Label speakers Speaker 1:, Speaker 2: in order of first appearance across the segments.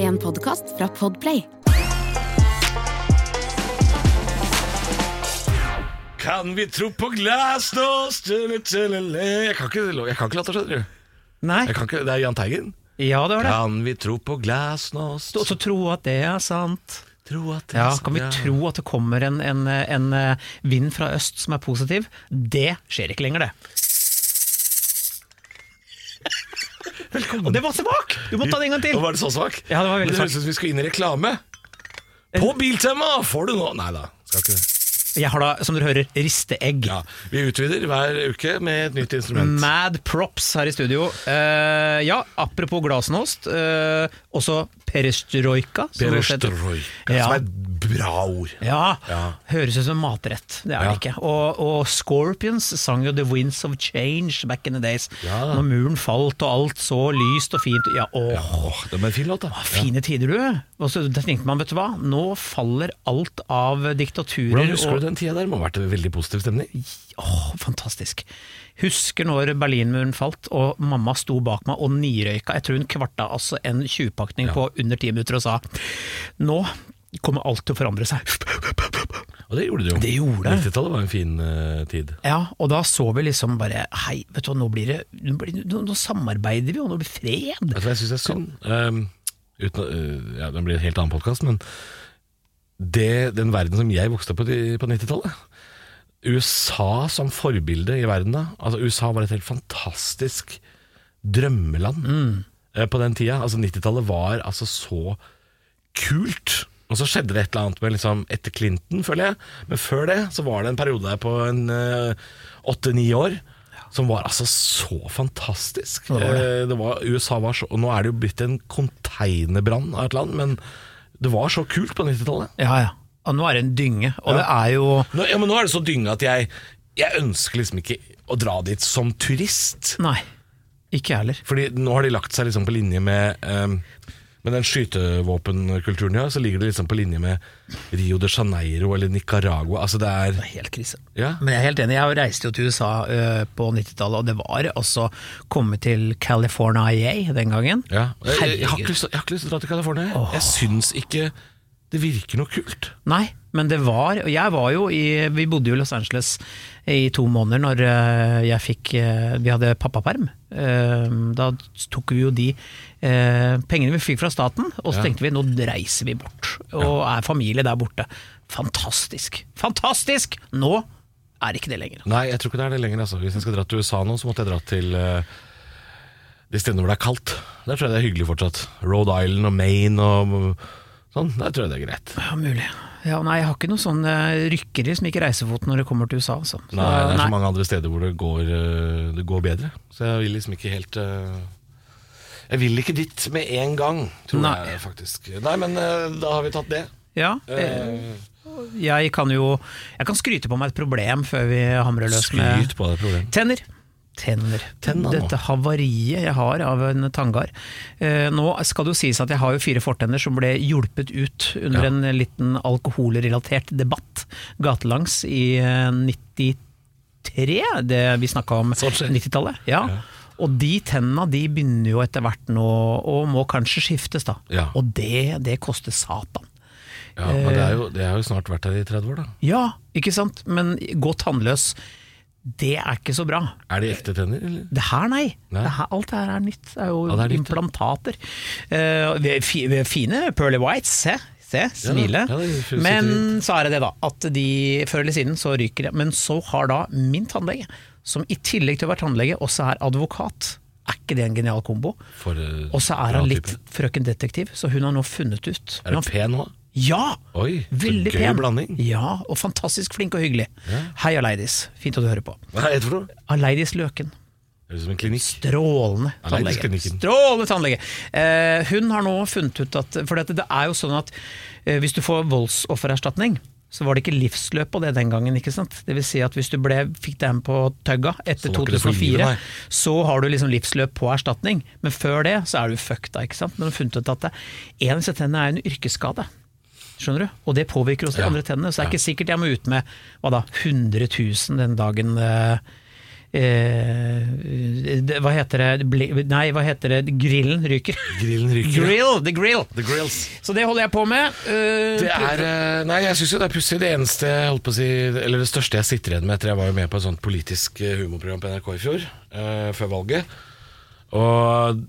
Speaker 1: en podkast fra Podplay.
Speaker 2: Kan vi tro på glasnost tjele, tjele, Jeg kan ikke, jeg kan ikke latter, skjønner du.
Speaker 3: Nei.
Speaker 2: Jeg kan ikke, det er Jahn Teigen.
Speaker 3: Ja, det var det.
Speaker 2: Kan vi tro på glasnost
Speaker 3: Og så tro at det er sant.
Speaker 2: Tro at det
Speaker 3: Ja,
Speaker 2: er sant,
Speaker 3: Kan vi tro at det kommer en, en, en eh, vind fra øst som er positiv? Det skjer ikke lenger, det. Velkommen. Og det var så svak! Du må ta det en gang til.
Speaker 2: Og var det så svak?
Speaker 3: Ja, det var veldig
Speaker 2: Men høres
Speaker 3: svak.
Speaker 2: ut som vi skal inn i reklame. På Biltema får du nå Nei da, skal ikke det.
Speaker 3: Jeg har da, som dere hører, risteegg.
Speaker 2: Ja, Vi utvider hver uke med et nytt instrument.
Speaker 3: Mad props her i studio. Eh, ja, apropos glasnost, eh, også perestrojka. som det også heter.
Speaker 2: Perestrojka,
Speaker 3: Ja.
Speaker 2: som er et bra ord.
Speaker 3: Ja,
Speaker 2: Ja.
Speaker 3: høres ut som matrett. Det er det
Speaker 2: Ja.
Speaker 3: ikke. Og, og Scorpions sang jo 'The Winds of Change' back in the days.
Speaker 2: Ja.
Speaker 3: Når muren falt og alt så lyst og fint Ja, åh,
Speaker 2: Åh, det var en fin låt, da.
Speaker 3: fine tider, du! Og så da tenkte man, vet du hva, nå faller alt av diktaturer
Speaker 2: Hvordan husker
Speaker 3: og-
Speaker 2: du den tida der? Det må ha vært en veldig positiv stemning.
Speaker 3: Åh, fantastisk. Husker når Berlinmuren falt og mamma sto bak meg og nirøyka. Jeg tror hun kvarta altså en 20-pakning på under ti minutter og sa Nå kommer alt til å forandre seg.
Speaker 2: Og det gjorde det jo.
Speaker 3: Det gjorde det.
Speaker 2: 90-tallet var en fin eh, tid.
Speaker 3: Ja, og da så vi liksom bare Hei, vet du hva, nå blir det Nå, blir, nå, nå samarbeider vi, og nå blir det fred.
Speaker 2: Vet du hva jeg syns er synd? Ehm, uten, å- øh, ja, det blir en helt annen podkast, men det, den verden som jeg vokste opp i på, på 90-tallet USA som forbilde i verden da. Altså, USA var et helt fantastisk drømmeland
Speaker 3: Mm.
Speaker 2: eh, på den tida. Altså, 90-tallet var altså så kult. Og så skjedde det et eller annet med liksom etter Clinton, føler jeg. Men før det så var det en periode der på en eh, åtte-ni år som var altså så fantastisk.
Speaker 3: Ja, det var det.
Speaker 2: Eh, det var, USA var så Og nå er det jo blitt en konteinerbrann av et land, men det var så kult på 90-tallet.
Speaker 3: Ja, ja. Og nå er det en dynge, og det er jo
Speaker 2: Nå, ja, men nå er det så dynga at jeg, jeg ønsker liksom ikke å dra dit som turist.
Speaker 3: Nei, ikke jeg heller.
Speaker 2: Fordi nå har de lagt seg liksom på linje med ehm, Med den skytevåpenkulturen de har, så ligger det liksom på linje med Rio de Janeiro eller Nicaragua. Altså det er
Speaker 3: Det er helt krise.
Speaker 2: Ja.
Speaker 3: Men jeg er helt enig. Jeg reiste jo til USA ø, på 90-tallet, og det var altså komme til California den gangen.
Speaker 2: ja. Jeg, jeg, jeg, har ikke
Speaker 3: Herregud.
Speaker 2: lyst, til- jeg har ikke lyst til å dra til California. jeg. Jeg syns ikke det virker noe kult.
Speaker 3: Nei, men det var og Jeg var jo i Vi bodde jo i Los Angeles i to måneder når eh, jeg fikk eh, Vi hadde pappaperm. Eh, Da tok vi jo de eh, pengene vi fikk fra staten, og
Speaker 2: Ja.
Speaker 3: så tenkte vi nå reiser vi bort og er familie der borte. Fantastisk! Fantastisk! Nå er ikke det lenger.
Speaker 2: Nei, jeg tror ikke det er det lenger. Altså. Hvis jeg skal dra til USA nå, så måtte jeg dra til eh, de stedene hvor det er kaldt. Der tror jeg det er hyggelig fortsatt. Rhode Island og Maine og sånn. Der tror jeg det er greit.
Speaker 3: Ja, mulig. Ja, nei, jeg har ikke noen sånne rykkere som ikke reiser foten når det kommer til USA. Altså. Så,
Speaker 2: Nei, det er så
Speaker 3: nei.
Speaker 2: mange andre steder hvor det går, eh, det går bedre. Så jeg vil liksom ikke helt eh, Jeg vil ikke dit med en gang, tror
Speaker 3: Nei.
Speaker 2: jeg faktisk. Nei, men eh, da har vi tatt det.
Speaker 3: Ja, eh,
Speaker 2: Eh,
Speaker 3: jeg kan jo Jeg kan skryte på meg et problem før vi hamrer løs med
Speaker 2: Skryt på det problemet.
Speaker 3: Tenner. Tenner.
Speaker 2: Tenna nå.
Speaker 3: Dette havariet jeg har av en tanngard. Eh, nå skal det jo sies at jeg har jo fire fortenner som ble hjulpet ut under
Speaker 2: Ja.
Speaker 3: en liten alkoholrelatert debatt gatelangs i eh, 93, det vi snakka om
Speaker 2: Sånn skjer.
Speaker 3: 90-tallet. Ja.
Speaker 2: Ja.
Speaker 3: Og de tenna de begynner jo etter hvert nå, og må kanskje skiftes da.
Speaker 2: Ja.
Speaker 3: Og det, det koster satan.
Speaker 2: Ja, men det er, jo, det er jo snart vært her i 30 år, da.
Speaker 3: Ja, ikke sant? Men gå tannløs, det er ikke så bra.
Speaker 2: Er de ekte tenner, eller?
Speaker 3: Det her, nei.
Speaker 2: Nei.
Speaker 3: Det her, alt det her er nytt. Det er jo
Speaker 2: Ja, det er nytt, ja.
Speaker 3: implantater. Eh, vi er fi- vi er fine Pearly Whites, se. Se, smile.
Speaker 2: ja, det sitter
Speaker 3: men så er det det, da. At de før eller siden så ryker det. Men så har da min tannlege, som i tillegg til å være tannlege, også er advokat. Er ikke det en genial kombo?
Speaker 2: For, eh,
Speaker 3: Og så er
Speaker 2: bra
Speaker 3: han litt
Speaker 2: type.
Speaker 3: frøkendetektiv, så hun har nå funnet ut
Speaker 2: Er du
Speaker 3: Hun har-
Speaker 2: pen nå?
Speaker 3: Ja!
Speaker 2: Oi, så
Speaker 3: Veldig
Speaker 2: gøy
Speaker 3: pen.
Speaker 2: blanding.
Speaker 3: Ja, og fantastisk flink og hyggelig. Hei, Aleidis. Fint at du hører på.
Speaker 2: Hva heter det for noe?
Speaker 3: Aleidis Løken.
Speaker 2: Høres ut som en klinikk.
Speaker 3: Strålende
Speaker 2: Aleidis
Speaker 3: tannlege.
Speaker 2: Klinikken.
Speaker 3: Strålende tannlege. Eh, hun har nå funnet ut at For dette, det er jo sånn at eh, hvis du får voldsoffererstatning, så var det ikke livsløp på det den gangen. ikke sant? Det vil si at hvis du ble, fikk den på tøgga
Speaker 2: Så
Speaker 3: etter
Speaker 2: var ikke det for livet,
Speaker 3: 2004,
Speaker 2: nei.
Speaker 3: så har du liksom livsløp på erstatning. Men før det så er du fucked, da. ikke sant? Men hun har funnet ut at det- en av disse tennene er en yrkesskade. Skjønner du? Og det påvirker også de
Speaker 2: Ja.
Speaker 3: andre tennene. Så det er ikke sikkert jeg må ut med hva da, 100 000 den dagen eh, eh, det- Hva heter det Bli, Nei, hva heter det? Grillen ryker.
Speaker 2: Grillen ryker. ja.
Speaker 3: Grill! The grill!
Speaker 2: The grills.
Speaker 3: Så det holder jeg på med. Eh,
Speaker 2: Det er, eh, nei, jeg syns jo det er pussig. Det eneste, jeg holdt på å si, eller det største jeg sitter igjen med etter jeg var jo med på et sånt politisk eh, humorprogram på NRK i fjor, eh, før valget. Og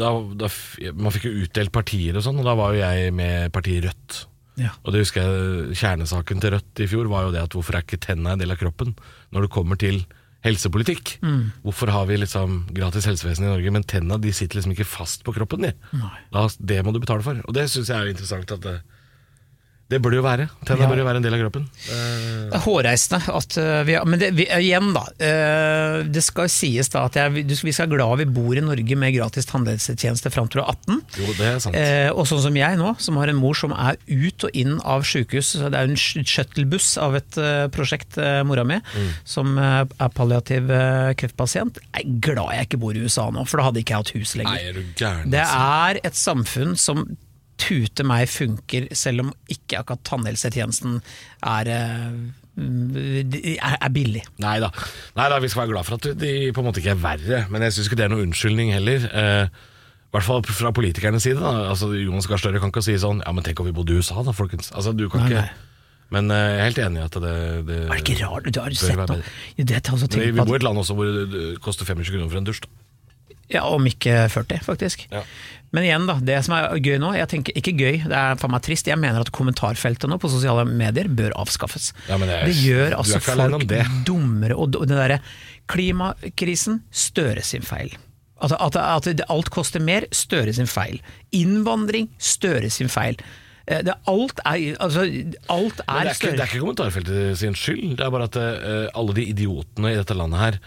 Speaker 2: da, da f- Man fikk jo utdelt partier og sånn, og da var jo jeg med partiet Rødt.
Speaker 3: ja.
Speaker 2: Og det husker jeg, Kjernesaken til Rødt i fjor var jo det at hvorfor er ikke tenna en del av kroppen når det kommer til helsepolitikk?
Speaker 3: Mm.
Speaker 2: Hvorfor har vi liksom gratis helsevesen i Norge, men tenna de sitter liksom ikke fast på kroppen? De.
Speaker 3: Nei.
Speaker 2: Da, det må du betale for. Og det syns jeg er interessant. at det, det burde jo være. Tenna
Speaker 3: Ja.
Speaker 2: burde jo være en del av kroppen.
Speaker 3: Det er hårreisende at eh, vi har Men det, vi, igjen, da. eh, det skal jo sies da at jeg, du, vi skal være glad vi bor i Norge med gratis tannhelsetjeneste fram til du er 18.
Speaker 2: Jo, det er sant.
Speaker 3: Eh, og sånn som jeg nå, som har en mor som er ut og inn av sykehus. så Det er jo en sh- shuttlebuss av et eh, prosjekt, eh, mora mi,
Speaker 2: Mm.
Speaker 3: som eh, er palliativ eh, kreftpasient. Jeg er glad jeg ikke bor i USA nå, for da hadde ikke jeg hatt hus
Speaker 2: Nei,
Speaker 3: lenger.
Speaker 2: er du gæren?
Speaker 3: Det
Speaker 2: altså?
Speaker 3: er et samfunn som tute meg funker, selv om ikke akkurat tannhelsetjenesten er, eh, mm, de- er, er billig.
Speaker 2: Nei da. vi skal være glad for at de på en måte ikke er verre, men jeg syns ikke det er noen unnskyldning heller. Eh, I hvert fall fra politikernes side. Da. Altså, Jonas Gahr Støre kan ikke si sånn Ja, men tenk om vi bodde i USA, da, folkens. Altså, du kan
Speaker 3: Nei,
Speaker 2: ikke
Speaker 3: nei.
Speaker 2: Men eh, jeg er helt enig i at det, det
Speaker 3: Er det ikke rart? Du har
Speaker 2: bør være
Speaker 3: sett noe.
Speaker 2: bedre.
Speaker 3: Ja, det er
Speaker 2: Men
Speaker 3: også
Speaker 2: vi, vi
Speaker 3: tenkt på at-
Speaker 2: bor i et land også hvor det, det koster 25 kroner for en dusj. Da.
Speaker 3: Ja, om ikke 40, faktisk.
Speaker 2: Ja.
Speaker 3: Men igjen, da. Det som er gøy nå, jeg tenker ikke gøy, det er faen meg trist. Jeg mener at kommentarfeltet nå på sosiale medier bør avskaffes.
Speaker 2: Ja, men det er-
Speaker 3: det gjør
Speaker 2: du er
Speaker 3: altså
Speaker 2: ikke alene
Speaker 3: folk
Speaker 2: om det.
Speaker 3: dummere, og og den derre klimakrisen, Støre sin feil. At, at, at det- alt koster mer, Støre sin feil. Innvandring, Støre sin feil. Eh, Det, alt er, altså, alt
Speaker 2: Men
Speaker 3: er,
Speaker 2: det, er ikke, det er ikke kommentarfeltet sin skyld, det er bare at eh, alle de idiotene i dette landet her,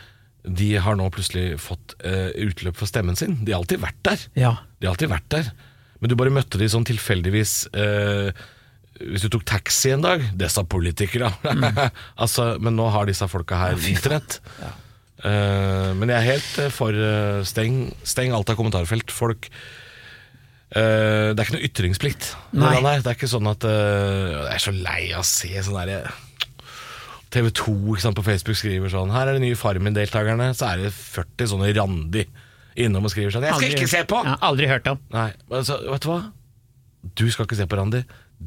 Speaker 2: de har nå plutselig fått eh, utløp for stemmen sin. De har alltid vært der.
Speaker 3: Ja.
Speaker 2: De har alltid vært der. Men du bare møtte de sånn tilfeldigvis eh, Hvis du tok taxi en dag Disse politikere. altså, men nå har disse folka her internett. Eh, men jeg er helt eh, for eh, steng, steng alt av kommentarfelt. Folk eh, Det er ikke noe ytringsplikt. i
Speaker 3: Nei.
Speaker 2: det landet her. Det er ikke sånn at eh, Jeg er så lei av å se sånn derre TV 2 ikke sant, på Facebook skriver sånn Her er de nye Farmen-deltakerne. Så er det 40 sånne Randi innom og skriver sånn Jeg skal
Speaker 3: Aldri-
Speaker 2: ikke se på!
Speaker 3: Ja, aldri hørt om.
Speaker 2: Nei, men altså, vet du hva? Du skal ikke se på Randi.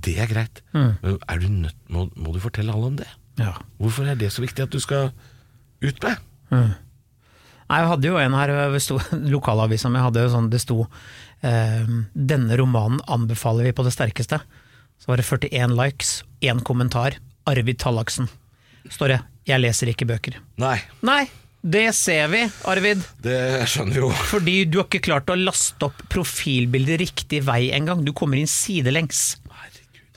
Speaker 2: Det er greit.
Speaker 3: Mm.
Speaker 2: Men er du nødt, må, må du fortelle alle om det?
Speaker 3: Ja.
Speaker 2: Hvorfor er det så viktig at du skal ut med?
Speaker 3: Nei, jeg hadde jo en her, det sto, lokalavisa mi hadde jo sånn, det sto ehm, 'Denne romanen anbefaler vi på det sterkeste'. Så var det 41 likes, én kommentar. Arvid Tallaksen. Står det 'Jeg leser ikke bøker'.
Speaker 2: Nei,
Speaker 3: Nei, det ser vi, Arvid.
Speaker 2: det skjønner vi jo.
Speaker 3: Fordi du har ikke klart å laste opp profilbildet riktig vei engang. Du kommer inn sidelengs.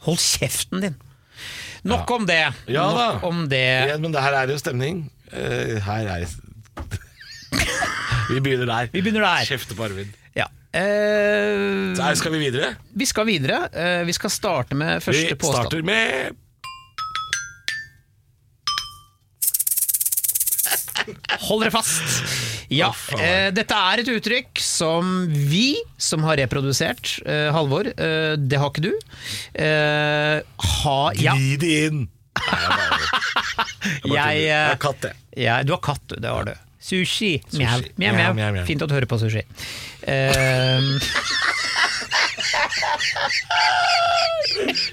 Speaker 3: Hold kjeften din. Nok om det.
Speaker 2: Ja da.
Speaker 3: Nok om det.
Speaker 2: men det her er jo stemning. Eh, her er Vi begynner der.
Speaker 3: Vi begynner der.
Speaker 2: Kjefte på Arvid.
Speaker 3: Ja. Eh,
Speaker 2: Der skal vi videre.
Speaker 3: vi skal videre. Eh, vi skal starte med
Speaker 2: Vi
Speaker 3: første påstand.
Speaker 2: starter med
Speaker 3: Hold dere fast! Ja, eh, dette er et uttrykk som vi, som har reprodusert, eh, Halvor, eh, det har ikke du, eh, har ja,
Speaker 2: Gni det inn. Nei, jeg bare- jeg bare
Speaker 3: Jeg,
Speaker 2: tuller.
Speaker 3: eh,
Speaker 2: er katt, jeg.
Speaker 3: ja, Du har katt, du. Det har du. Sushi. Mjau, mjau,
Speaker 2: Mjau, mjau,
Speaker 3: mjau.
Speaker 2: mjau.
Speaker 3: Fint at du hører på sushi. Eh,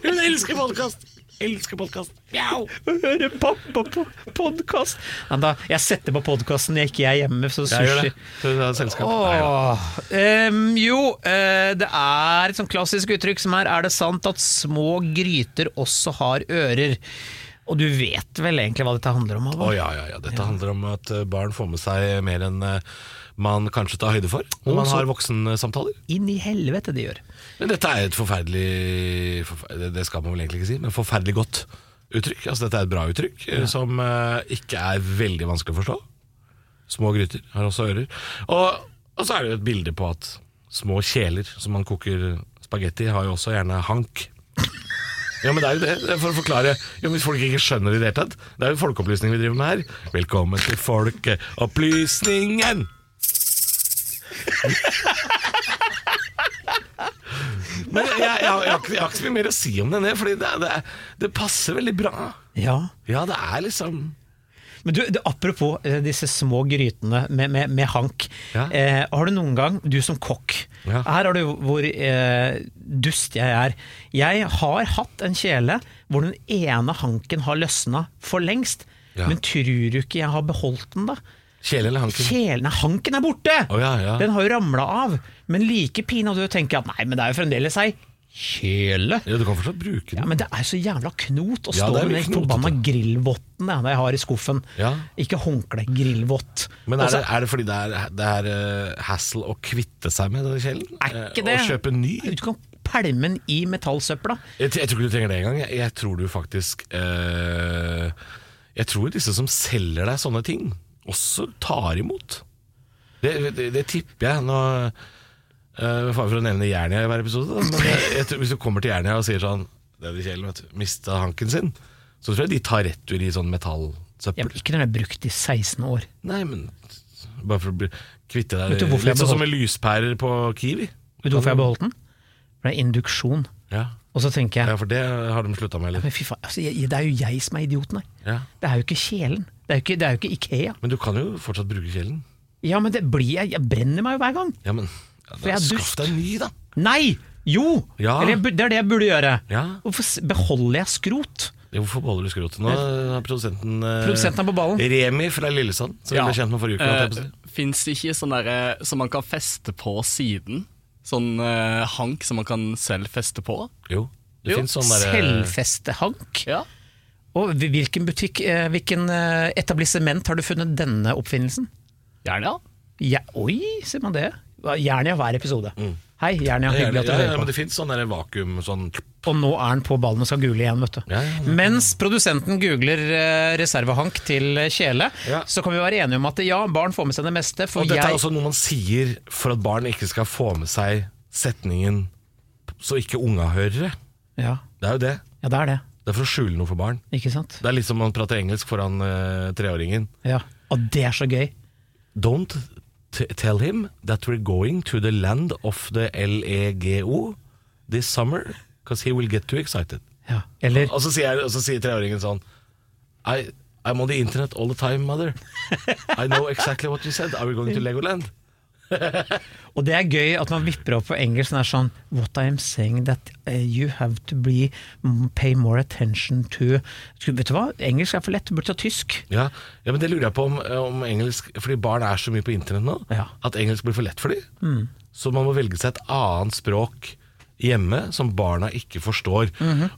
Speaker 2: Hun elsker podkast. Elsker podkast. Mjau.
Speaker 3: høre pappa på podkast. Jeg setter på podkasten når ikke jeg er hjemme, så
Speaker 2: Jeg gjør
Speaker 3: sushi
Speaker 2: det. Så det er selskap. Nei, ja.
Speaker 3: Åh, ehm, jo, eh, det er et sånn klassisk uttrykk som er Er det sant at små gryter også har ører? Og du vet vel egentlig hva dette handler om?
Speaker 2: Å
Speaker 3: Halvor?
Speaker 2: ja, ja, ja. Dette handler om at eh, barn får med seg mer enn eh, man kanskje tar høyde for når
Speaker 3: Å,
Speaker 2: man
Speaker 3: så-
Speaker 2: har voksensamtaler.
Speaker 3: Inn i helvete de gjør.
Speaker 2: Men dette er et forferdelig forfe- det- Det skal man vel egentlig ikke si, men forferdelig godt uttrykk. Altså Dette er et bra uttrykk eh, som eh, ikke er veldig vanskelig å forstå. Små gryter har også ører. Og, og så er det jo et bilde på at små kjeler som man koker spagetti, har jo også gjerne hank. Ja, men det er jo det. det er for å forklare jo, Hvis folk ikke skjønner det i det hele tatt. Det er jo folkeopplysning vi driver med her. Velkommen til Folkeopplysningen! Men jeg, jeg, jeg, har- jeg, har ikke- jeg har ikke så mye mer å si om den, fordi det, er- det, er- det passer veldig bra.
Speaker 3: Ja.
Speaker 2: Ja, det er liksom
Speaker 3: Men du, du, apropos eh, disse små grytene med, med, med hank.
Speaker 2: Ja.
Speaker 3: Eh, har du noen gang, du som kokk
Speaker 2: Ja.
Speaker 3: Her har du hvor eh, dust jeg er. Jeg har hatt en kjele hvor den ene hanken har løsna for lengst.
Speaker 2: Ja.
Speaker 3: Men tror du ikke jeg har beholdt den, da?
Speaker 2: Kjele eller hanken?
Speaker 3: Kjelen, nei, hanken er borte!
Speaker 2: Å, ja, ja.
Speaker 3: Den har jo ramla av. Men like pinadø tenker jeg at nei, men det er jo fremdeles ei kjele.
Speaker 2: Ja, du kan fortsatt bruke
Speaker 3: Ja,
Speaker 2: den.
Speaker 3: Men det er så jævla knot å
Speaker 2: Ja,
Speaker 3: stå
Speaker 2: det er
Speaker 3: med
Speaker 2: mye
Speaker 3: den
Speaker 2: knotete.
Speaker 3: forbanna grillvotten jeg, jeg har i skuffen.
Speaker 2: Ja.
Speaker 3: Ikke håndkle, grillvott.
Speaker 2: Men er
Speaker 3: Altså,
Speaker 2: det, er det fordi det er, det er eh, hassle å kvitte seg med denne kjelen?
Speaker 3: Er ikke
Speaker 2: Eh,
Speaker 3: det?
Speaker 2: Og kjøpe en ny?
Speaker 3: Du kan pælme den i metallsøpla.
Speaker 2: Jeg, t- jeg tror ikke du trenger det engang. Jeg, jeg tror du faktisk eh, Jeg tror disse som selger deg sånne ting, også tar imot. Det, det, det tipper jeg. Nå uh, Fare for å nevne Jernia i hver episode, da, men jeg, jeg, tror- hvis du kommer til Jernia og sier sånn Det er det Kjell, vet du. Mista hanken sin. Så tror jeg de tar retur i sånn
Speaker 3: Ja,
Speaker 2: metallsøppel.
Speaker 3: men ikke når den er brukt i 16 år.
Speaker 2: Nei, men Bare for å bli, kvitte
Speaker 3: Vet
Speaker 2: deg
Speaker 3: du hvorfor jeg
Speaker 2: Litt sånn som
Speaker 3: beholdt-
Speaker 2: med lyspærer på Kiwi.
Speaker 3: Vet du hvorfor jeg beholdt den? For det er induksjon.
Speaker 2: Ja,
Speaker 3: Og så tenker
Speaker 2: ja
Speaker 3: jeg
Speaker 2: for det har de slutta med, eller?
Speaker 3: men fy faen, altså, jeg- det er jo jeg som er idioten her.
Speaker 2: Ja.
Speaker 3: Det er jo ikke kjelen. Det er jo ikke, det er jo ikke Ikea.
Speaker 2: Men du kan jo fortsatt bruke kjelen.
Speaker 3: Ja, men det blir jeg, jeg brenner meg jo hver gang.
Speaker 2: Ja, men ja,
Speaker 3: jeg
Speaker 2: da,
Speaker 3: er
Speaker 2: Skaff
Speaker 3: dust.
Speaker 2: deg en ny, da!
Speaker 3: Nei! Jo!
Speaker 2: Ja.
Speaker 3: Eller jeg bur- det er det jeg burde gjøre.
Speaker 2: Ja.
Speaker 3: Hvorfor s- beholder jeg skrot?
Speaker 2: Ja, Hvorfor beholder du skrotet nå? har Produsenten, eh,
Speaker 3: Produsenten er på ballen.
Speaker 2: Remi fra Lillesand, som vi ble kjent med forrige uke. holdt jeg på å si.
Speaker 1: Fins det ikke sånn derre som man kan feste på siden? Sånn eh, hank som man kan selv feste på?
Speaker 3: Eh,
Speaker 2: Jo, det
Speaker 1: Jo,
Speaker 2: finnes sånn derre
Speaker 3: Selvfestehank?
Speaker 1: Ja.
Speaker 3: Og hvi- hvilken butikk, eh, hvilken eh, etablissement har du funnet denne oppfinnelsen?
Speaker 1: Gjerne, ja. Ja.
Speaker 3: Oi, sier man det? Hva- Jernia hver episode. Hei,
Speaker 2: ja,
Speaker 3: Jernia, hyggelig at du
Speaker 2: ja, Mm. ja,
Speaker 3: hører
Speaker 2: men
Speaker 3: på.
Speaker 2: det fins sånn derre vakuum sånn
Speaker 3: Og nå er han på ballen og skal google igjen, vet du.
Speaker 2: Ja, ja, ja.
Speaker 3: Mens produsenten googler eh, reservehank til eh, kjele,
Speaker 2: Ja.
Speaker 3: så kan vi være enige om at ja, barn får med seg det meste. For
Speaker 2: Og dette
Speaker 3: jeg,
Speaker 2: er også noe man sier for at barn ikke skal få med seg setningen så ikke unga hører det.
Speaker 3: ja,
Speaker 2: Det er jo det.
Speaker 3: ja, det er det.
Speaker 2: Det er for å skjule noe for barn.
Speaker 3: Ikke sant?
Speaker 2: Det er litt som man prater engelsk foran eh, treåringen.
Speaker 3: Ja. Og det er så gøy.
Speaker 2: Don't t tell him that we're going to the land of the LEGO this summer, because he will get too excited.
Speaker 3: Ja. Eller
Speaker 2: Og så sier, jeg- og så sier treåringen sånn I, I'm on the internet all the time, mother. I know exactly what you said. Are we going to Legoland?
Speaker 3: Og det er gøy at man vipper opp på engelsk og er sånn What I am saying that eh, you have to be mm, pay more attention to Sku- Vet du hva, engelsk er for lett, du burde ta tysk.
Speaker 2: Ja, ja men det lurer jeg på om, eh, om engelsk Fordi barn er så mye på internett nå
Speaker 3: Ja.
Speaker 2: at engelsk blir for lett for dem. Så man må velge seg et annet språk hjemme som barna ikke forstår.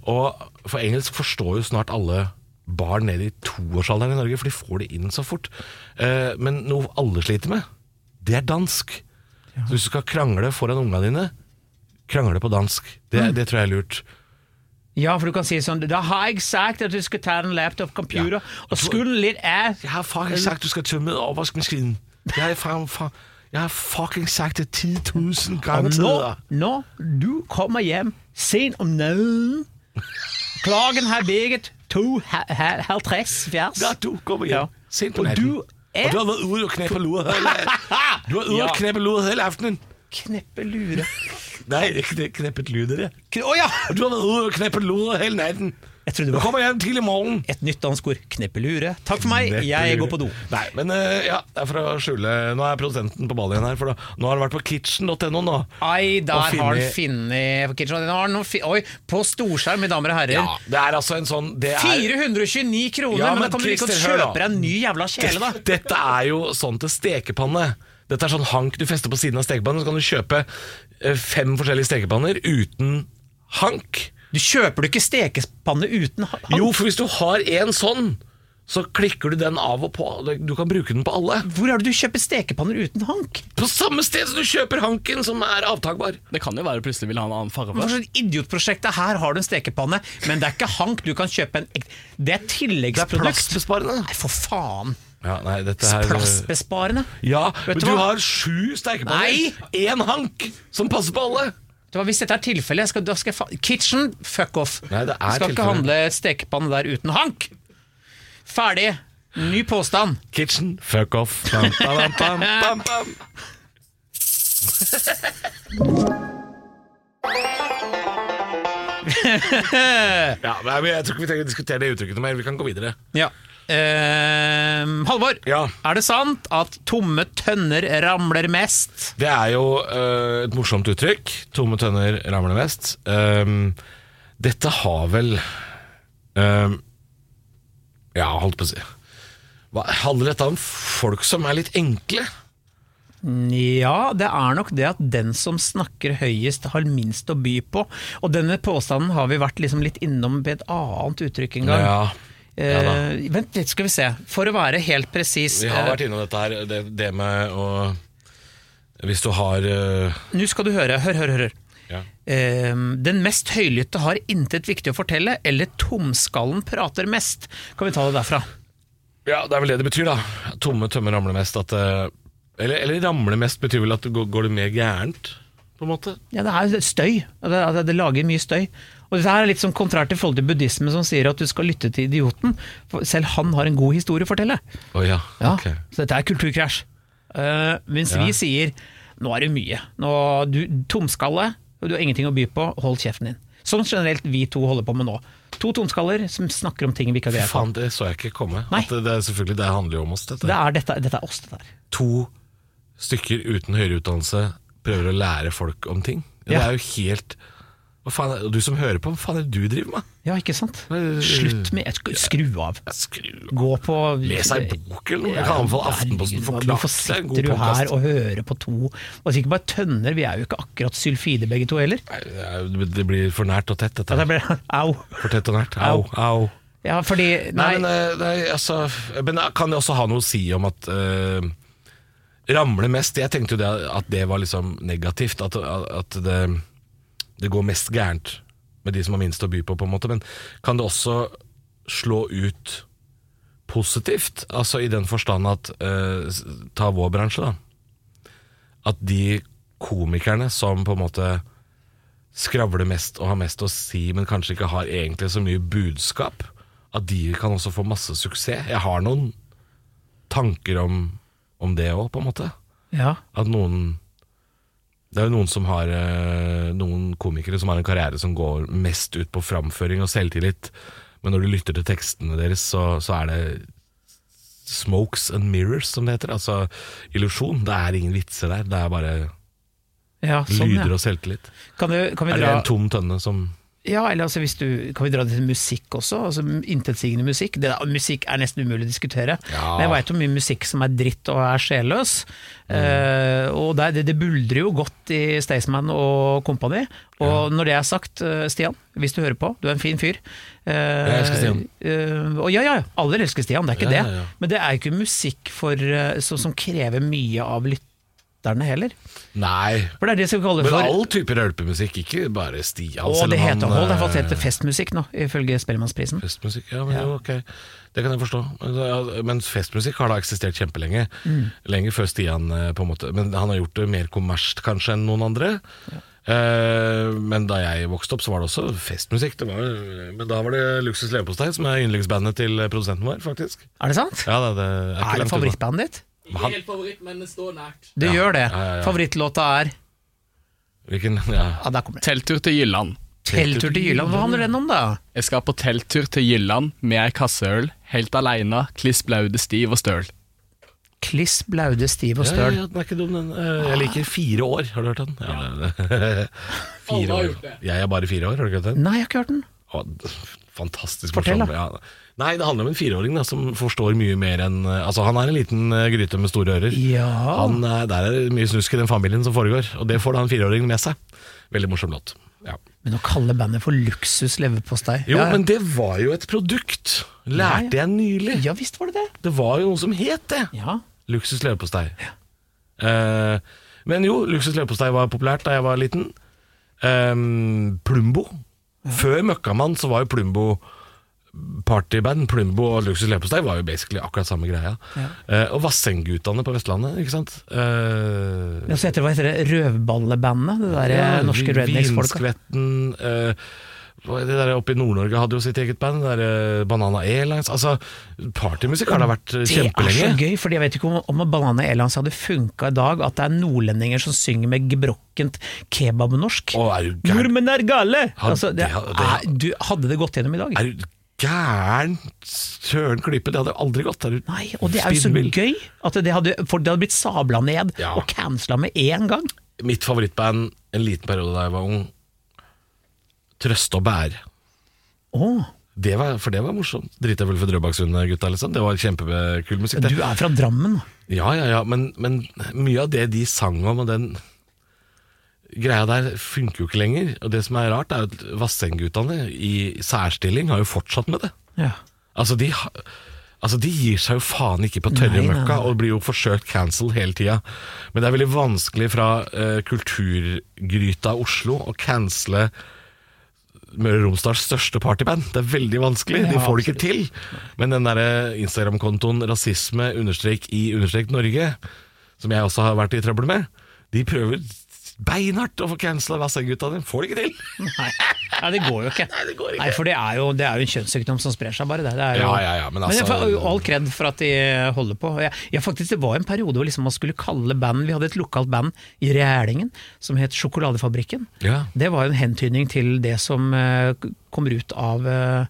Speaker 2: Og For engelsk forstår jo snart alle barn ned i toårsalderen i Norge, for de får det inn så fort. Eh, men noe alle sliter med, det er dansk. Så hvis du skal krangle foran unga dine, krangle på dansk. Det, det tror jeg er lurt.
Speaker 3: Ja, for du kan si sånn Da har jeg sagt at du skal ta en laptop computer og skulle litt ass
Speaker 2: Jeg har fucking sagt, du skal tømme overvaskmaskinen. Jeg har, faen- faen- jeg har fucking sagt det 10 000 ganger
Speaker 3: Og nå,
Speaker 2: tidligere.
Speaker 3: når du kommer hjem sent om natten Klokken har beget to ha- ha- halvtreds fjers.
Speaker 2: Ja, du kommer hjem
Speaker 3: Ja.
Speaker 2: sent på
Speaker 3: Og
Speaker 2: natten.
Speaker 3: du er-
Speaker 2: Og du har været ude og knæppe luret hele Du har været ude og
Speaker 1: Ja.
Speaker 2: knæppe luret hele aftenen.
Speaker 3: Kneppe lure
Speaker 2: Nej, det er knæ- knæppet luret.
Speaker 3: Å ja!
Speaker 2: Du har været ude og knæppe luret hele natten.
Speaker 3: Jeg trodde det
Speaker 2: Du
Speaker 3: var
Speaker 2: kommer hjem tidlig i morgen.
Speaker 3: et nytt dansk ord. Kneppe lure. Takk for meg, jeg går på do.
Speaker 2: Nei, men eh, ja, det er for å skjule Nå er produsenten på ball igjen her, for da, nå har han vært på kitchen.no nå.
Speaker 3: Ai, der
Speaker 2: Og
Speaker 3: har han
Speaker 2: funnet-
Speaker 3: funnet Kitchen. Nå har han noe fi- Oi, på storskjerm, mine damer og herrer.
Speaker 2: Ja, det er altså en sånn det er,
Speaker 3: 429 kroner,
Speaker 2: Ja,
Speaker 3: men,
Speaker 2: men
Speaker 3: da kan du ikke
Speaker 2: Christer, hør da.
Speaker 3: kjøpe deg en ny jævla kjele, da.
Speaker 2: Dette er jo sånn til stekepanne. Dette er sånn hank du fester på siden av stekepannen, så kan du kjøpe eh, fem forskjellige stekepanner uten hank.
Speaker 3: Du kjøper du ikke stekespanne uten ha- han-
Speaker 2: Jo, for hvis du har en sånn, så klikker du den av og på. Du kan bruke den på alle.
Speaker 3: Hvor er det du kjøper stekepanner uten hank?
Speaker 2: På samme sted som du kjøper hanken som er avtakbar.
Speaker 1: Det kan jo være du plutselig vil ha en annen
Speaker 3: Hva
Speaker 1: farge.
Speaker 3: slags idiotprosjekt er her? Har du en stekepanne, men det er ikke hank. Du kan kjøpe en ek- Det er
Speaker 2: Det er
Speaker 3: tilleggsprodukt.
Speaker 2: plassbesparende.
Speaker 3: Nei, for faen.
Speaker 2: Ja, nei, dette her
Speaker 3: Plassbesparende.
Speaker 2: Ja, men
Speaker 3: Vet du
Speaker 2: du
Speaker 3: hva?
Speaker 2: har sju
Speaker 3: Nei!
Speaker 2: stekepanner. Én hank som passer på alle.
Speaker 3: Vet du hva, Hvis dette er tilfellet, jeg skal, da skal jeg fa Kitchen, fuck off.
Speaker 2: Nei, det er
Speaker 3: Jeg skal
Speaker 2: tilfellet.
Speaker 3: ikke handle stekepanne der uten hank. Ferdig. Ny påstand.
Speaker 2: Kitchen, fuck off. Bam, bam, bam, bam, bam. Ja, nei, men Jeg tror ikke vi trenger å diskutere det uttrykket noe mer. Vi kan gå videre.
Speaker 3: Ja. Eh, Halvor,
Speaker 2: Ja.
Speaker 3: er det sant at tomme tønner ramler mest?
Speaker 2: Det er jo eh, et morsomt uttrykk. Tomme tønner ramler mest. Ehm, dette har vel ehm, Ja, holdt på å si Hva, Handler dette om folk som er litt enkle?
Speaker 3: Ja, det er nok det at den som snakker høyest, har minst å by på. Og denne påstanden har vi vært liksom litt innom ved et annet uttrykk en gang.
Speaker 2: Ja, ja da.
Speaker 3: Eh, vent litt, skal vi se. For å være helt presis
Speaker 2: Vi
Speaker 3: eh,
Speaker 2: har vært innom dette her. Det, det med å Hvis du har eh,
Speaker 3: Nå skal du høre. Hør, hør, hør. hør.
Speaker 2: ja.
Speaker 3: Eh, den mest høylytte har intet viktig å fortelle, eller tomskallen prater mest. Kan vi ta det derfra?
Speaker 2: ja, det er vel det det betyr, da. Tomme tømmer ramler mest. At, eh, eller, eller ramler mest betyr vel at det går, går det mer gærent, på en måte?
Speaker 3: Ja, det er støy. Det, det, det lager mye støy. Og dette her er litt sånn kontrært til forhold til buddhisme, som sier at du skal lytte til idioten. For selv han har en god historie å fortelle.
Speaker 2: Å ja.
Speaker 3: Ja,
Speaker 2: ok.
Speaker 3: Så dette er kulturkrasj. Eh, mens vi sier nå er det mye. Nå, du tomskalle, og du har ingenting å by på, hold kjeften din. Som generelt vi to holder på med nå. To tomskaller som snakker om ting vi ikke har greie på.
Speaker 2: Faen, det så jeg ikke komme.
Speaker 3: Nei.
Speaker 2: At det, det, er selvfølgelig, det handler jo om oss, dette.
Speaker 3: Det er dette, dette er oss, dette her.
Speaker 2: To stykker uten høyere utdannelse prøver å lære folk om ting. Det
Speaker 3: Ja.
Speaker 2: er jo helt Hva faen er, og Du som hører på, hva faen er det du driver med?
Speaker 3: Ja, ikke sant?
Speaker 2: Nei,
Speaker 3: Slutt med sk- Skru av.
Speaker 2: Jeg Skru
Speaker 3: Gå på
Speaker 2: Les ei bok eller noe. Jeg kan anbefale Aftenposten for klart.
Speaker 3: Hvorfor
Speaker 2: Det er en
Speaker 3: sitter
Speaker 2: god
Speaker 3: du her
Speaker 2: podcast.
Speaker 3: og hører på to Og sikkert bare tønner, vi er jo ikke akkurat sylfide begge to heller.
Speaker 2: Nei, det er- Det blir for nært og tett, dette.
Speaker 3: Ja, det
Speaker 2: her.
Speaker 3: ble, au.
Speaker 2: For tett og nært. Au, au.
Speaker 3: Ja, fordi Nei,
Speaker 2: Nei, men, eh, nei, altså, men det kan det også ha noe å si om at eh, Ramle mest Jeg tenkte jo det at det var liksom negativt. At, at det, det går mest gærent med de som har minst å by på, på en måte. Men kan det også slå ut positivt? Altså i den forstand at eh, s- Ta vår bransje, da. At de komikerne som på en måte skravler mest og har mest å si, men kanskje ikke har egentlig så mye budskap, at de kan også få masse suksess. Jeg har noen tanker om, om det òg, på en måte.
Speaker 3: ja.
Speaker 2: At noen Det er jo noen som har eh, Noen komikere som har en karriere som går mest ut på framføring og selvtillit, men når du lytter til tekstene deres, så, så er det Smokes and mirrors, som det heter. Altså illusjon. Det er ingen vitser der. Det er bare
Speaker 3: ja sånn,
Speaker 2: lyder
Speaker 3: ja.
Speaker 2: og selvtillit.
Speaker 3: Kan, du, kan vi
Speaker 2: Er det
Speaker 3: dra
Speaker 2: en tom tønne som
Speaker 3: Ja, eller altså hvis du, kan vi dra det til musikk også? Altså Intetsigende musikk. Det, musikk er nesten umulig å diskutere.
Speaker 2: Ja.
Speaker 3: Men jeg veit om mye musikk som er dritt og er sjelløs.
Speaker 2: Mm.
Speaker 3: Eh, og det, er- det, det buldrer jo godt i Staysman og kompani. Og når det er sagt, eh, Stian, hvis du hører på, du er en fin fyr. Eh,
Speaker 2: Jeg elsker Stian.
Speaker 3: eh, og ja, ja, alle elsker Stian, det er ikke
Speaker 2: Ja,
Speaker 3: det.
Speaker 2: ja, ja.
Speaker 3: Men det er jo ikke musikk for, eh, så, som krever mye av lytterne heller.
Speaker 2: Nei,
Speaker 3: For det er det som vi kaller
Speaker 2: Men
Speaker 3: for
Speaker 2: all typer hølpemusikk, ikke bare Stian.
Speaker 3: Å,
Speaker 2: selv
Speaker 3: det
Speaker 2: om han,
Speaker 3: heter, hold deg fast, det
Speaker 2: eh,
Speaker 3: heter festmusikk nå, ifølge Spellemannsprisen.
Speaker 2: Festmusikk, ja, men
Speaker 3: Ja.
Speaker 2: jo, ok Det kan jeg forstå Men da- Men festmusikk har da eksistert kjempelenge
Speaker 3: Mm.
Speaker 2: Lenge før Stian eh, på en måte Men han har gjort det mer kommersielt kanskje enn noen andre Eh, Men da jeg vokste opp så var det også festmusikk det var, Men da var det Luksus Leverpostei Som er yndlingsbandet til produsenten vår faktisk
Speaker 3: Er det sant?
Speaker 2: Ja, det, det er, ikke
Speaker 3: Er det
Speaker 2: langt unna.
Speaker 3: favorittbandet ditt?
Speaker 1: Ikke helt favoritt, men det står nært.
Speaker 3: Det gjør det.
Speaker 2: ja, ja, ja.
Speaker 3: Favorittlåta er
Speaker 2: Hvilken, ja
Speaker 3: Ja, der kommer det.
Speaker 1: Telttur til Jylland.
Speaker 3: Telttur til Jylland. Hva handler den om, da?
Speaker 1: Jeg skal på telttur til Jylland med ei kasseøl, helt aleine, kliss blaude, stiv og støl.
Speaker 3: Kliss, blaude, stiv og
Speaker 2: Ja, ja,
Speaker 3: støl.
Speaker 2: ja, den er ikke dum, den. Eh, Jeg liker fire år, har du hørt den? Ja, det-
Speaker 1: Alle
Speaker 2: fire
Speaker 1: har
Speaker 2: år.
Speaker 1: gjort det.
Speaker 2: Jeg er bare fire år, har du ikke hørt den?
Speaker 3: Nei, jeg har ikke hørt den.
Speaker 2: Å, d- fantastisk
Speaker 3: Fortell,
Speaker 2: morsom. Ja. Nei, det handler om en fireåring da, som forstår mye mer enn Altså, han er en liten eh, gryte med store ører.
Speaker 3: Ja.
Speaker 2: Han, eh, der er det mye snusk i den familien som foregår, og det får da en fireåring med seg. Veldig morsom låt. Ja.
Speaker 3: Men å kalle bandet for Luksus leverpostei
Speaker 2: Jo,
Speaker 3: ja.
Speaker 2: men det var jo et produkt, lærte jeg nylig.
Speaker 3: ja visst var det det.
Speaker 2: Det var jo noe som het det.
Speaker 3: Ja.
Speaker 2: Luksus leverpostei. Eh, men jo, luksus leverpostei var populært da jeg var liten. Ehm, Plumbo. Før Møkkamann så var jo Plumbo partyband. Plumbo og luksus leverpostei var jo basically akkurat samme greia. Eh, og Vassendgutane på Vestlandet, ikke sant. Eh,
Speaker 3: Ja, så heter det, hva heter det? Røvballebandet? Det derre norske
Speaker 2: vi-
Speaker 3: rednecks-folka?
Speaker 2: Vinskvetten eh, hva er Det der oppe i Nord-Norge hadde jo sitt eget band. Det der, eh, Banana Airlines Altså, partymusikk har da vært eh,
Speaker 3: Det er så
Speaker 2: kjempelenge.
Speaker 3: gøy, for jeg vet ikke om, om Banana Airlines hadde funka i dag, at det er nordlendinger som synger med gebrokkent kebabnorsk.
Speaker 2: Å, er du gæren?
Speaker 3: Nordmenn er gale!
Speaker 2: Hadde-
Speaker 3: Altså, det,
Speaker 2: det hadde-
Speaker 3: er, du, hadde det gått gjennom i dag?
Speaker 2: Er du gæren søren klype, det hadde aldri gått der ute.
Speaker 3: Nei, og det er jo så
Speaker 2: Spinnvill.
Speaker 3: gøy at det hadde, for det hadde blitt sabla ned
Speaker 2: Ja.
Speaker 3: og cancela med én gang.
Speaker 2: Mitt favorittband en liten periode da jeg var ung, Trøste og Bære.
Speaker 3: Åh,
Speaker 2: Det var, for det var morsomt. Driter jeg vel for Drøbaksundet-gutta, liksom. Det var kjempekul musikk.
Speaker 3: du
Speaker 2: Det.
Speaker 3: er fra Drammen.
Speaker 2: Ja, ja, ja, men, men mye av det de sang om, og den greia der, funker jo ikke lenger. Og det som er rart, er at Vassendguttene i særstilling har jo fortsatt med det.
Speaker 3: Ja.
Speaker 2: Altså, de, ha- altså, de gir seg jo faen ikke på tørre
Speaker 3: Nei, nei,
Speaker 2: møkka,
Speaker 3: nei.
Speaker 2: og blir jo forsøkt cancel hele tida. Men det er veldig vanskelig fra eh, kulturgryta Oslo å cancele Møre og Romsdals største partyband. Det er veldig vanskelig, de
Speaker 3: Ja,
Speaker 2: får det ikke til. Men den derre Instagram-kontoen rasisme understrek i understrek Norge, som jeg også har vært i trøbbel med, de prøver beinhardt å få cancela Vassendgutta. De får det ikke til.
Speaker 3: Nei. Nei, det går jo ikke. Nei,
Speaker 2: det går ikke.
Speaker 3: for det er jo, det er jo en kjønnssykdom som sprer seg, bare. Det, det er jo,
Speaker 2: Ja, ja, ja, men altså-
Speaker 3: jeg får jo all kred for at de holder på. Jeg, jeg faktisk, det var en periode hvor liksom man skulle kalle band Vi hadde et lokalt band i Rælingen som het Sjokoladefabrikken.
Speaker 2: Ja.
Speaker 3: Det var jo en hentydning til det som eh, kommer ut av, eh,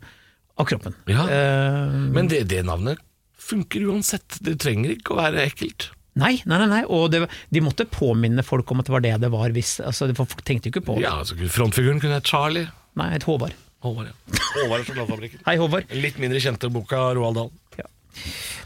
Speaker 3: av kroppen.
Speaker 2: Ja.
Speaker 3: Eh,
Speaker 2: Men det, det navnet funker uansett. Det trenger ikke å være ekkelt.
Speaker 3: Nei, nei, nei, nei. og det, de måtte påminne folk om at det var det det var. Hvis, altså, for folk tenkte jo ikke på det.
Speaker 2: Ja, altså, Frontfiguren kunne hett Charlie.
Speaker 3: Nei, et Håvard.
Speaker 2: Håvard, ja. Håvard og sjokoladefabrikken.
Speaker 3: Hei, Håvard.
Speaker 2: Litt mindre kjente boka Roald Dahl.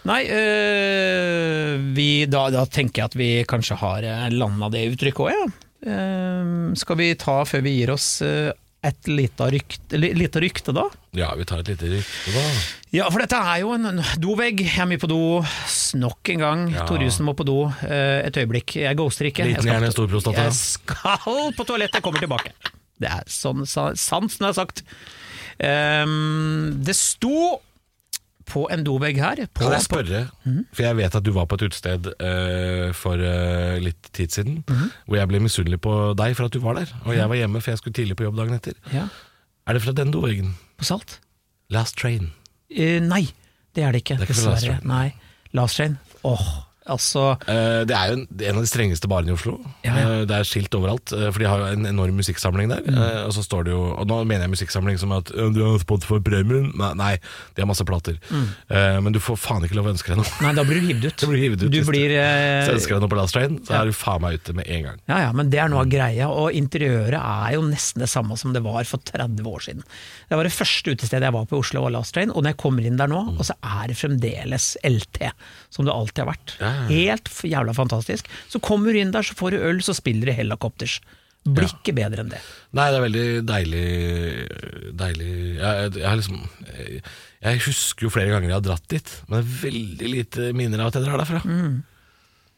Speaker 3: Nei, øh, vi, da, da tenker jeg at vi kanskje har eh, landa det uttrykket òg, ja. Ehm, skal vi ta, før vi gir oss, eh, et lite rykte, li- lite rykte, da?
Speaker 2: Ja, vi tar et lite rykte, da.
Speaker 3: Ja, for dette er jo en en dovegg. Jeg er mye på do. S- Nok en gang.
Speaker 2: Ja.
Speaker 3: Thorjussen må på do. Eh, et øyeblikk. Jeg ghoster ikke.
Speaker 2: Liten
Speaker 3: Jeg skal
Speaker 2: hjerne,
Speaker 3: på-
Speaker 2: stor prostata.
Speaker 3: Jeg skal på toalettet, jeg kommer tilbake. Det er sånn sa- sant som det er sagt. Ehm, det sto på en dovegg her på, Mhm.
Speaker 2: Kan jeg spørre, for jeg vet at du var på et utested eh, for eh, litt tid siden,
Speaker 3: Mhm.
Speaker 2: hvor jeg ble misunnelig på deg for at du var der, og jeg var hjemme for jeg skulle tidlig på jobb dagen etter.
Speaker 3: på, ja,
Speaker 2: Er det fra den doveggen?
Speaker 3: på Salt?
Speaker 2: Last Train.
Speaker 3: Eh, nei, det er det ikke.
Speaker 2: Det er ikke fra Last Train.
Speaker 3: Nei. Last Train. Åh, altså
Speaker 2: Eh, det er jo en, det er en av de strengeste barene i Oslo.
Speaker 3: Ja, Mm. ja.
Speaker 2: Eh, det er skilt overalt, eh, for de har jo en enorm musikksamling der. Eh, og så står det jo Og nå mener jeg musikksamling som at «Øh, du har Spotify-premien. Nei, nei, de har masse plater.
Speaker 3: Mm.
Speaker 2: Eh, men du får faen ikke lov å ønske deg noe.
Speaker 3: Nei, da blir du hivd ut.
Speaker 2: Du blir hivet ut.
Speaker 3: Du
Speaker 2: hvis
Speaker 3: blir,
Speaker 2: hvis
Speaker 3: eh,
Speaker 2: du ønsker deg noe på Last Train, så er du faen meg ute med en gang.
Speaker 3: Ja, ja, men det er noe av greia, og interiøret er jo nesten det samme som det var for 30 år siden. Det var det første utestedet jeg var på i Oslo, var Last Train, og når jeg kommer inn der nå, og så er det fremdeles LT, som det alltid har vært. Helt f- jævla fantastisk. Så kommer du inn der, så får du øl, så spiller du Helicopters. Blir ikke bedre enn det.
Speaker 2: Nei, det er veldig deilig Deilig Jeg, jeg, har liksom jeg, jeg husker jo flere ganger jeg har dratt dit, men det er veldig lite minner av at jeg drar derfra.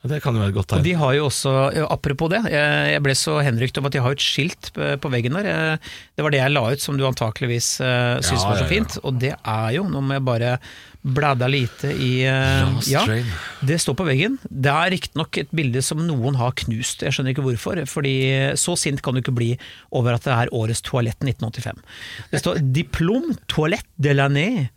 Speaker 2: Det kan jo være et godt tegn.
Speaker 3: Mm. De har jo også, ja, apropos det, jeg jeg ble så henrykt om at de har jo et skilt eh, på veggen der. Eh, Det var det jeg la ut som du antakeligvis eh, syntes
Speaker 2: Ja,
Speaker 3: var
Speaker 2: ja, ja.
Speaker 3: så fint, og det er jo, nå må jeg bare blæda lite i eh,
Speaker 2: Last Train.
Speaker 3: Det står på veggen. Det er riktignok et bilde som noen har knust, jeg skjønner ikke hvorfor. Fordi så sint kan du ikke bli over at det er årets toalett 1985. Det står 'Diplom toalett de l'année'.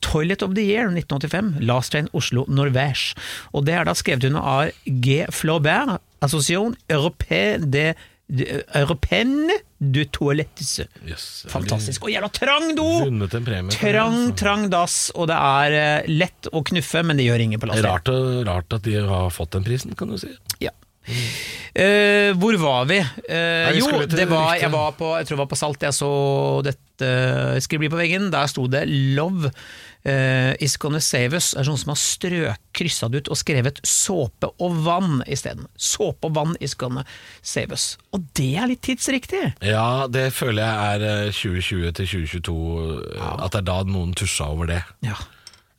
Speaker 3: Toilet of the Year 1985, Last Train Oslo Norvège. Og det er da skrevet under av G. Flaubert, Association Européenne de, de, Européenne du Toilettisse.
Speaker 2: Yes, jeg har
Speaker 3: Fantastisk. Og jævla trang do!
Speaker 2: Vunnet en premie. for det,
Speaker 3: Trang,
Speaker 2: altså.
Speaker 3: trang dass, og det er eh, lett å knuffe, men det gjør ingen på
Speaker 2: Det er
Speaker 3: Last Train.
Speaker 2: rart, å- rart at de har fått den prisen, kan du si.
Speaker 3: Ja. Eh, hvor var vi? Eh,
Speaker 2: vi
Speaker 3: jo,
Speaker 2: skulle til
Speaker 3: det var,
Speaker 2: ryktet.
Speaker 3: jeg, var på, jeg tror det var på Salt. Jeg så dette skribli på veggen. Der sto det 'Love eh, is gonna save us'. Det er sånn som har strøkkrysset det ut og skrevet 'såpe og vann' isteden. 'Såpe og vann is gonna save us'. Og det er litt tidsriktig!
Speaker 2: Ja, det føler jeg er eh, 2020 til 2022, eh, at det er da noen tusja over det.
Speaker 3: Ja.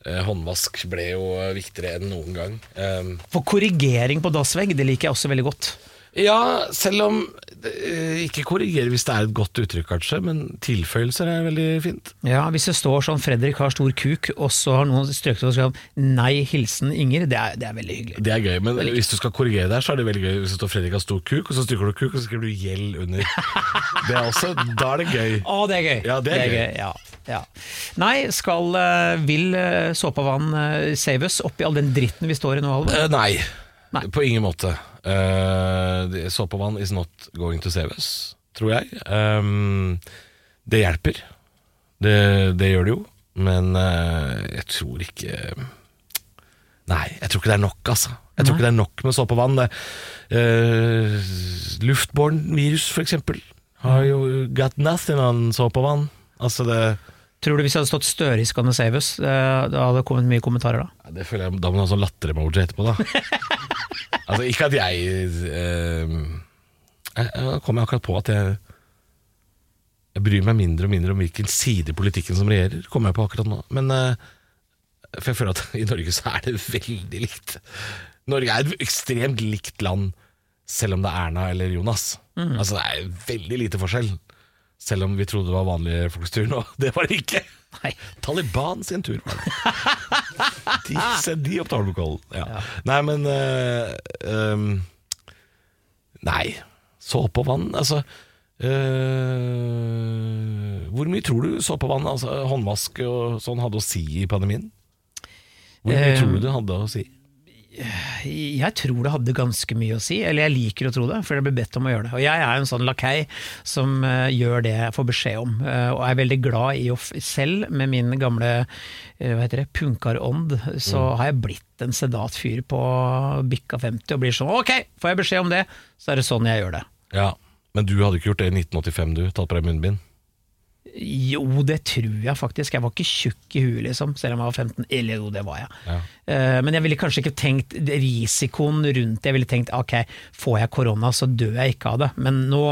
Speaker 2: Eh, Håndvask ble jo eh, viktigere enn noen gang. Eh,
Speaker 3: For korrigering på dassvegg, det liker jeg også veldig godt.
Speaker 2: Ja, selv om eh, Ikke korrigere hvis det er et godt uttrykk, kanskje, men tilføyelser er veldig fint.
Speaker 3: Ja, Hvis det står sånn 'Fredrik har stor kuk', og så har noen strøket og skrevet 'Nei, hilsen Inger', det er, det er veldig hyggelig.
Speaker 2: Det er gøy, men hvis du skal korrigere der, så er det veldig gøy hvis det står 'Fredrik har stor kuk', og så stryker du 'kuk', og så skriver du 'gjeld' under. Det er også, Da er det gøy.
Speaker 3: Å, det er gøy.
Speaker 2: Ja, det er gøy.
Speaker 3: Ja, ja. Nei, skal eh, vil eh, såpe og vann eh, save us oppi all den dritten vi står i nå, Halvor?
Speaker 2: Eh, nei.
Speaker 3: Nei.
Speaker 2: på ingen måte. Eh, det- såpevann is not going to save us, tror jeg. Ehm, det Eh, hjelper. Det, det gjør det jo, men eh, jeg tror ikke Nei, jeg tror ikke det er nok, altså. Jeg tror ikke det er nok med såpe og vann. Det, eh, luftbåren virus, for eksempel, har jo got nothing on såpe og vann. Altså det,
Speaker 3: Tror du hvis det hadde stått Støre i Scan and Save Us, eh, da hadde det kommet mye kommentarer da?
Speaker 2: Nei, det føler jeg, Da må du ha sånn latter-emoji etterpå, da. altså, ikke at jeg eh, jeg- jeg kom jeg akkurat på at jeg Jeg bryr meg mindre og mindre om hvilken side i politikken som regjerer, kommer jeg på akkurat nå. Men eh, For jeg føler at i Norge så er det veldig likt. Norge er et ekstremt likt land, selv om det er Erna eller Jonas. Altså Det er veldig lite forskjell. Selv om vi trodde det var vanlige folks tur nå. Det var det ikke.
Speaker 3: Nei.
Speaker 2: Taliban sin tur var det. De, se, de opptar lokalen. Ja. Nei, men øh, øhm, Nei. Såpe og vann, altså øh, Hvor mye tror du såpe og vann, altså håndvask og sånn, hadde å si i pandemien? Hvor mye
Speaker 3: Eh,
Speaker 2: tror du det hadde å si?
Speaker 3: Jeg tror det hadde ganske mye å si, eller jeg liker å tro det, for jeg ble bedt om å gjøre det. Og jeg er jo en sånn lakei som eh, gjør det jeg får beskjed om, eh, og er veldig glad i å f selv, med min gamle eh, hva heter det, punkarånd, så har jeg blitt en sedat fyr på bikka 50 og blir sånn ok, får jeg beskjed om det, så er det sånn jeg gjør det.
Speaker 2: Ja, Men du hadde ikke gjort det i 1985, du? Tatt på deg munnbind?
Speaker 3: Jo, det tror jeg faktisk. Jeg var ikke tjukk i huet, liksom, selv om jeg var 15. Eller jo, det var jeg.
Speaker 2: Ja.
Speaker 3: Eh, Men jeg ville kanskje ikke tenkt risikoen rundt det. Jeg ville tenkt ok, får jeg korona, så dør jeg ikke av det. Men nå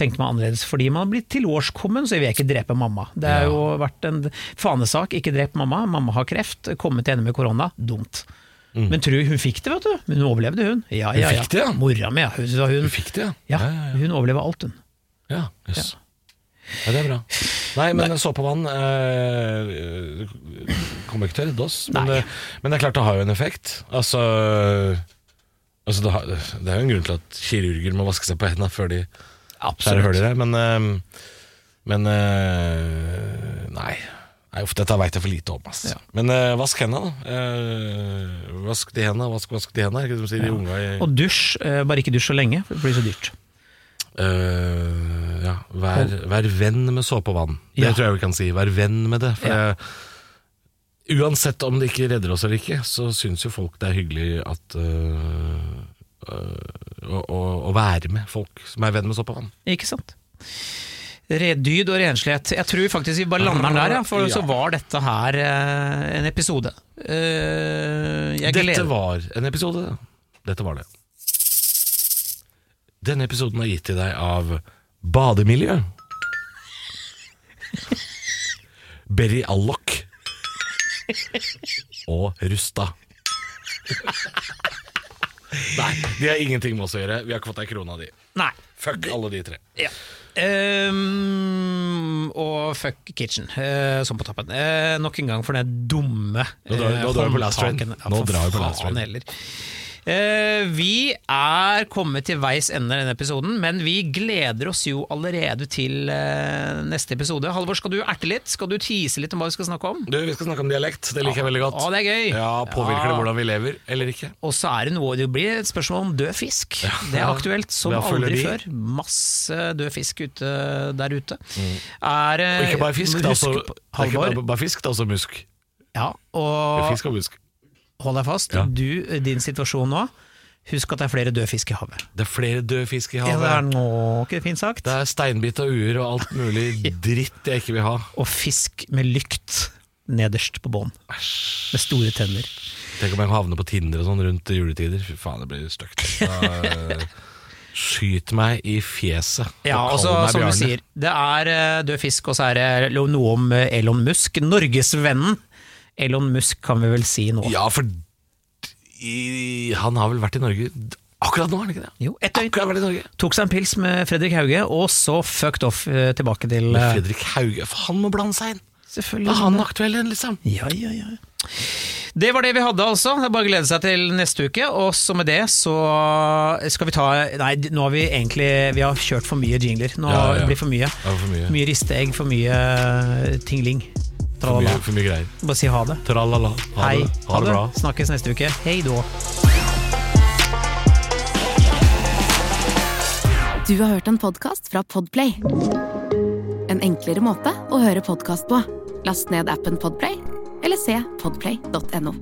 Speaker 3: tenkte man annerledes, fordi man har blitt tilårskommen, så jeg vil ikke drepe mamma. Det har jo vært en fanesak, ikke drep mamma, mamma har kreft, kommet til henne med korona, dumt. Men tror du hun fikk det, vet du? Hun overlevde, hun. Ja, ja, ja.
Speaker 2: Mm. fikk det, ja?
Speaker 3: Mora mi, ja. Hun, så hun,
Speaker 2: Du fikk det, ja,
Speaker 3: ja,
Speaker 2: ja, ja.
Speaker 3: hun overlever alt, hun.
Speaker 2: Ja, jøss. Ja, det er bra. Nei, men såpe og vann eh, eh, kommer ikke til å redde oss. Men,
Speaker 3: Nei.
Speaker 2: det- men det er klart det har jo en effekt. Altså, altså det, har, det er jo en grunn til at kirurger må vaske seg på hendene før de skjærer hull i det. Men, eh, men eh, nei. nei uff, dette veit jeg for lite om. Ass.
Speaker 3: Ja.
Speaker 2: Men eh, vask hendene, da. Eh, vask de hendene, vask, vask de hendene. Er ikke det de sier de unga i
Speaker 3: Og dusj, eh, bare ikke dusj så lenge, for det blir så dyrt.
Speaker 2: Eh, ja, vær, vær venn med såpe og vann. Det
Speaker 3: Ja.
Speaker 2: tror jeg vi kan si. Vær venn med det. For
Speaker 3: Ja.
Speaker 2: jeg- uansett om det ikke redder oss eller ikke, så syns jo folk det er hyggelig at eh, eh, å, å, å være med folk som er venn med såpe og vann.
Speaker 3: Ikke sant? Redyd og renslighet. Jeg tror faktisk vi bare lander der, ja, for
Speaker 2: Ja.
Speaker 3: så var dette her eh, en episode. Eh, jeg
Speaker 2: Dette
Speaker 3: gleder
Speaker 2: var en episode. Dette var det. Denne episoden er gitt til deg av Bademiljø. Berry Alloc. Og Rusta. Nei, de har ingenting med oss å gjøre. Vi har ikke fått ei krone av de.
Speaker 3: Nei.
Speaker 2: Fuck alle de tre.
Speaker 3: Ja. Ehm, og fuck kitchen, eh, sånn på tappen. Eh, nok en gang for den dumme
Speaker 2: Nå drar- nå
Speaker 3: eh,
Speaker 2: drar vi på last train.
Speaker 3: håndtaken. Ja,
Speaker 2: Nå
Speaker 3: for
Speaker 2: drar vi på last
Speaker 3: faen
Speaker 2: train.
Speaker 3: heller. Eh, vi er kommet til veis ende i denne episoden, men vi gleder oss jo allerede til eh, neste episode. Halvor, skal du erte litt? Skal du tease litt om hva vi skal snakke om?
Speaker 2: Du, Vi skal snakke om dialekt. Det liker jeg veldig godt.
Speaker 3: Å, det er gøy.
Speaker 2: Ja, Påvirker
Speaker 3: Ja.
Speaker 2: det hvordan vi lever, eller ikke?
Speaker 3: Og så er det noe Det blir et spørsmål om død fisk. Det er
Speaker 2: Ja.
Speaker 3: aktuelt som
Speaker 2: Hva følger
Speaker 3: aldri
Speaker 2: de?
Speaker 3: før. Masse død fisk ute der ute. Er, eh,
Speaker 2: Og ikke bare fisk,
Speaker 3: men
Speaker 2: det er
Speaker 3: husk
Speaker 2: også,
Speaker 3: på-
Speaker 2: det er ikke
Speaker 3: Halvor,
Speaker 2: bare, bare fisk, det er også musk.
Speaker 3: ja, og
Speaker 2: Fisk og musk.
Speaker 3: hold deg fast.
Speaker 2: Ja.
Speaker 3: Du, din situasjon nå. Husk at det er flere døde fisk i havet.
Speaker 2: Det er flere døde fisk i
Speaker 3: Ja,
Speaker 2: havet.
Speaker 3: det er noe ikke fint sagt.
Speaker 2: Det er steinbit av uer og alt mulig dritt jeg ikke vil ha.
Speaker 3: Og fisk med lykt nederst på bånn. Med store tenner.
Speaker 2: Tenk om jeg havner på Tinder og sånn rundt juletider. Fy faen, det blir stygt. Da, eh, Skyt meg i fjeset.
Speaker 3: Ja,
Speaker 2: og
Speaker 3: og så,
Speaker 2: kall meg
Speaker 3: som du
Speaker 2: Bjarne.
Speaker 3: sier, det er eh, død fisk, og så er det lo- noe om eh, Elon Musk. Norgesvennen Elon Musk kan vi vel si nå.
Speaker 2: Ja, for i, han har vel vært i Norge akkurat nå, har han ikke det?
Speaker 3: Jo, ett døgn.
Speaker 2: Akkurat vært i Norge.
Speaker 3: Tok seg en pils med Fredrik Hauge, og så fucked off eh, tilbake til
Speaker 2: Med
Speaker 3: eh,
Speaker 2: Fredrik Hauge. For han må blande seg inn. Da
Speaker 3: Selvfølgelig.
Speaker 2: er Ah, han aktuell igjen, liksom.
Speaker 3: Ja, ja, ja. Det var det vi hadde, altså. Det er bare å glede seg til neste uke. Og så med det så eh, skal vi ta Nei, nå har vi egentlig Vi har kjørt for mye jingler. Nå
Speaker 2: Ja, ja.
Speaker 3: blir det for mye.
Speaker 2: Det var for mye.
Speaker 3: Mye risteegg, for mye eh, tingling.
Speaker 2: For
Speaker 3: Tralala.
Speaker 2: mye, for mye greier.
Speaker 3: Bare si ha det.
Speaker 2: Tralala. Ha
Speaker 3: Hei.
Speaker 2: det, ha det bra.
Speaker 3: Snakkes neste uke. Hei då.
Speaker 4: Du har hørt en podcast fra Podplay En enklere måte å høre podkast på. Last ned appen Podplay, eller se podplay.no.